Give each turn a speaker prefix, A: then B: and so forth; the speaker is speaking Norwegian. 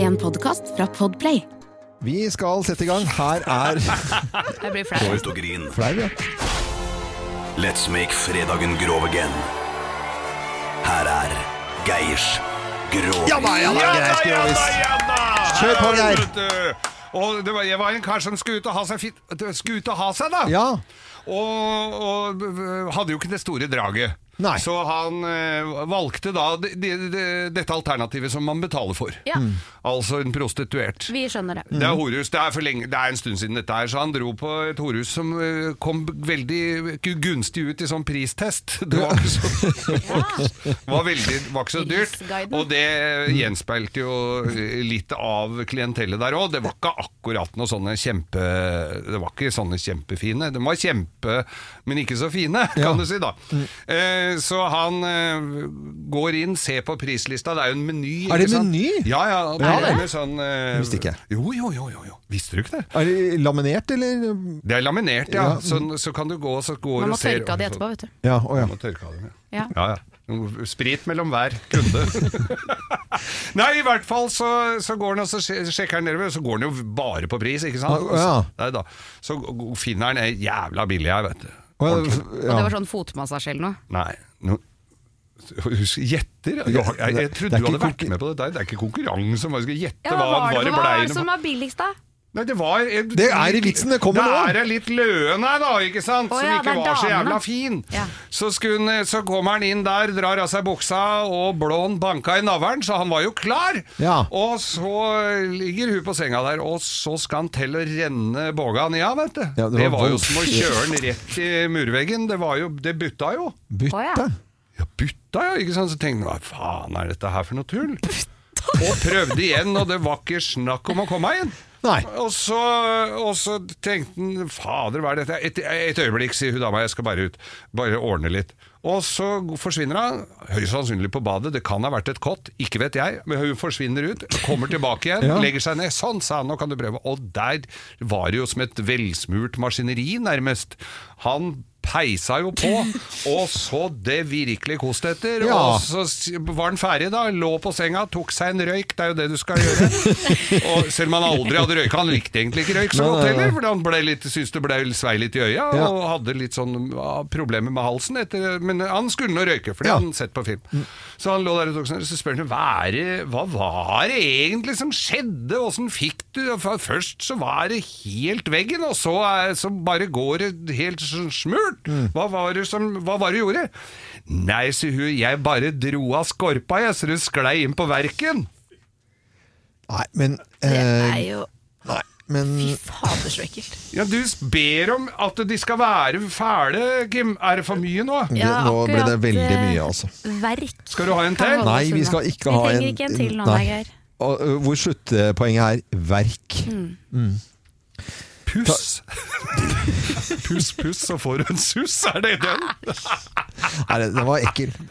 A: En podkast fra Podplay.
B: Vi skal sette i gang. Her er
A: Jeg blir flau.
C: og grin.
B: Flau, ja.
C: Let's make fredagen grov again. Her er Geirs grov.
B: Ja da, ja da,
D: Ja da,
B: greit,
D: ja da,
B: Grovis.
D: ja da!
B: Kjør på,
D: Her er
B: Geir.
D: du, vet du. Og det var, jeg var en kar som skulle ut og ha seg, fit, skulle ut og ha seg da.
B: Ja.
D: Og, og øh, hadde jo ikke det store draget.
B: Nei.
D: Så han øh, valgte da de, de, de, dette alternativet som man betaler for.
A: Ja. Mm.
D: Altså en prostituert.
A: Vi skjønner det.
B: Mm.
D: Det er horhus. Det er, for lenge, det er en stund siden dette her, så han dro på et horhus som eh, kom veldig gunstig ut i sånn pristest. Det var ikke så, var veldig, var ikke så dyrt.
A: Prisguiden.
D: Og det gjenspeilte jo litt av klientellet der òg. Det var ikke akkurat noe sånne kjempe Det var ikke sånne kjempefine. De var kjempe, men ikke så fine, kan
B: Ja. Mm.
D: du si, da. Eh, så han eh, går inn, ser på prislista. Det er jo en meny.
B: Er det
D: ikke sant?
B: meny?
D: Ja, ja. Det
B: Ja,
D: er
B: det.
D: med sånn eh,
B: Visste ikke.
D: Jo, jo, jo, jo, jo. Visste du ikke det?
B: Er det laminert, eller?
D: Det er laminert, ja.
B: Ja.
D: Så, så kan du gå så går
A: Man
D: og
A: må
D: ser-
A: tørke av de etterpå, vet du.
B: Ja, å ja.
D: Man må tørke av dem, ja.
A: Ja.
D: Ja, ja. Sprit mellom hver kunde. Nei, i hvert fall så, så går han og så sje- sjekker han nedover, og så går han jo bare på pris, ikke sant?
B: Ah, ja.
D: Nei da. Så g- finner han ei jævla billig her, vet du.
B: Å ja,
D: Ordentlig.
B: f-
A: Og
B: ja.
A: det var sånn fotmassasje eller noe.
D: Nei, no. Husk, Gjetter? Jeg, jeg, jeg,
B: Det er ikke
D: trodde du hadde vært
B: konkur-
D: med på det der. Det er ikke konkurranse om hva du skal gjette.
A: Ja, hva var det,
D: det
A: hva var
D: bleiene
A: det som var billigst, da?
D: Nei, det var
B: Det er i vitsen, det kommer nå.
D: Det er ei litt løen her, da, ikke sant?
A: Å
D: Som
A: ja,
D: ikke
A: det er
D: var så
A: damene.
D: jævla fin.
A: Ja.
D: Så, skulle hun- eh, så kommer han inn der, drar av seg buksa, og blån banka i navlen, så han var jo klar.
B: Ja.
D: Og så ligger hun på senga der, og så skal han til å renne Bågan. Ja, vet du.
B: Ja, det
D: det,
B: var
D: var jo
B: vold-
D: som å kjøre han rett i murveggen. Det, var jo, det butta jo.
B: Bytte?
A: Å,
D: Ja, butta, ja, ikke sant? Så tenkte jeg, hva faen er dette her for noe tull? Og prøvde igjen, og det var ikke snakk om å komme igjen.
B: Nei.
D: Og så, og så tenkte han, fader, hva er dette? Et, et øyeblikk, sier hun dama, jeg skal bare ut, bare ordne litt. Og så forsvinner han, høyst sannsynlig på badet, det kan ha vært et kott, ikke vet jeg, men hun forsvinner ut, kommer tilbake igjen,
B: Ja.
D: legger seg ned, sånn, sa han, nå kan du prøve. Og der var det jo som et velsmurt maskineri, nærmest. Han peisa jo på, og så det virkelig kost etter,
B: Ja.
D: og så s- var han ferdig da, lå på senga, tok seg en røyk, det er jo det du skal gjøre. Og selv om han aldri hadde røyka, han likte egentlig ikke røyk så
B: Nei,
D: godt
B: nei, nei.
D: heller, for han ble litt, syntes det ble svei litt i øya,
B: Ja.
D: og hadde litt sånn ja, problemer med halsen etter, men han skulle nå røyke, for det
B: Ja.
D: hadde han sett på film. Så han lå der og tok seg en røyk, så spør han, hva, er det, hva var det egentlig som skjedde, hvordan fikk du, det? For først så var det helt veggen, og så, er, så bare går det helt sånn smurt.
B: Mm.
D: Hva var det som, hva var det du gjorde? Nei, sier hun, jeg bare dro av skorpa, jeg, så du sklei inn på verken.
B: Nei, men
A: Det er
B: eh,
A: jo
B: Nei, men
A: Fy fader, så ekkelt.
D: Ja, Du ber om at de skal være fæle, Kim. Er det for mye nå?
B: det, nå ble det
A: eh,
B: veldig mye, altså.
A: Verk.
D: Skal du ha en til?
B: Nei, vi skal ikke ha
A: Vi
B: en
A: trenger ikke en til nå,
B: Nei.
A: nei, Geir.
B: Og, ø, Hvor sluttpoenget er verk.
A: Mm.
D: Puss. puss, puss, så får du en suss. Er det den?
B: Nei, det, det var ekkel.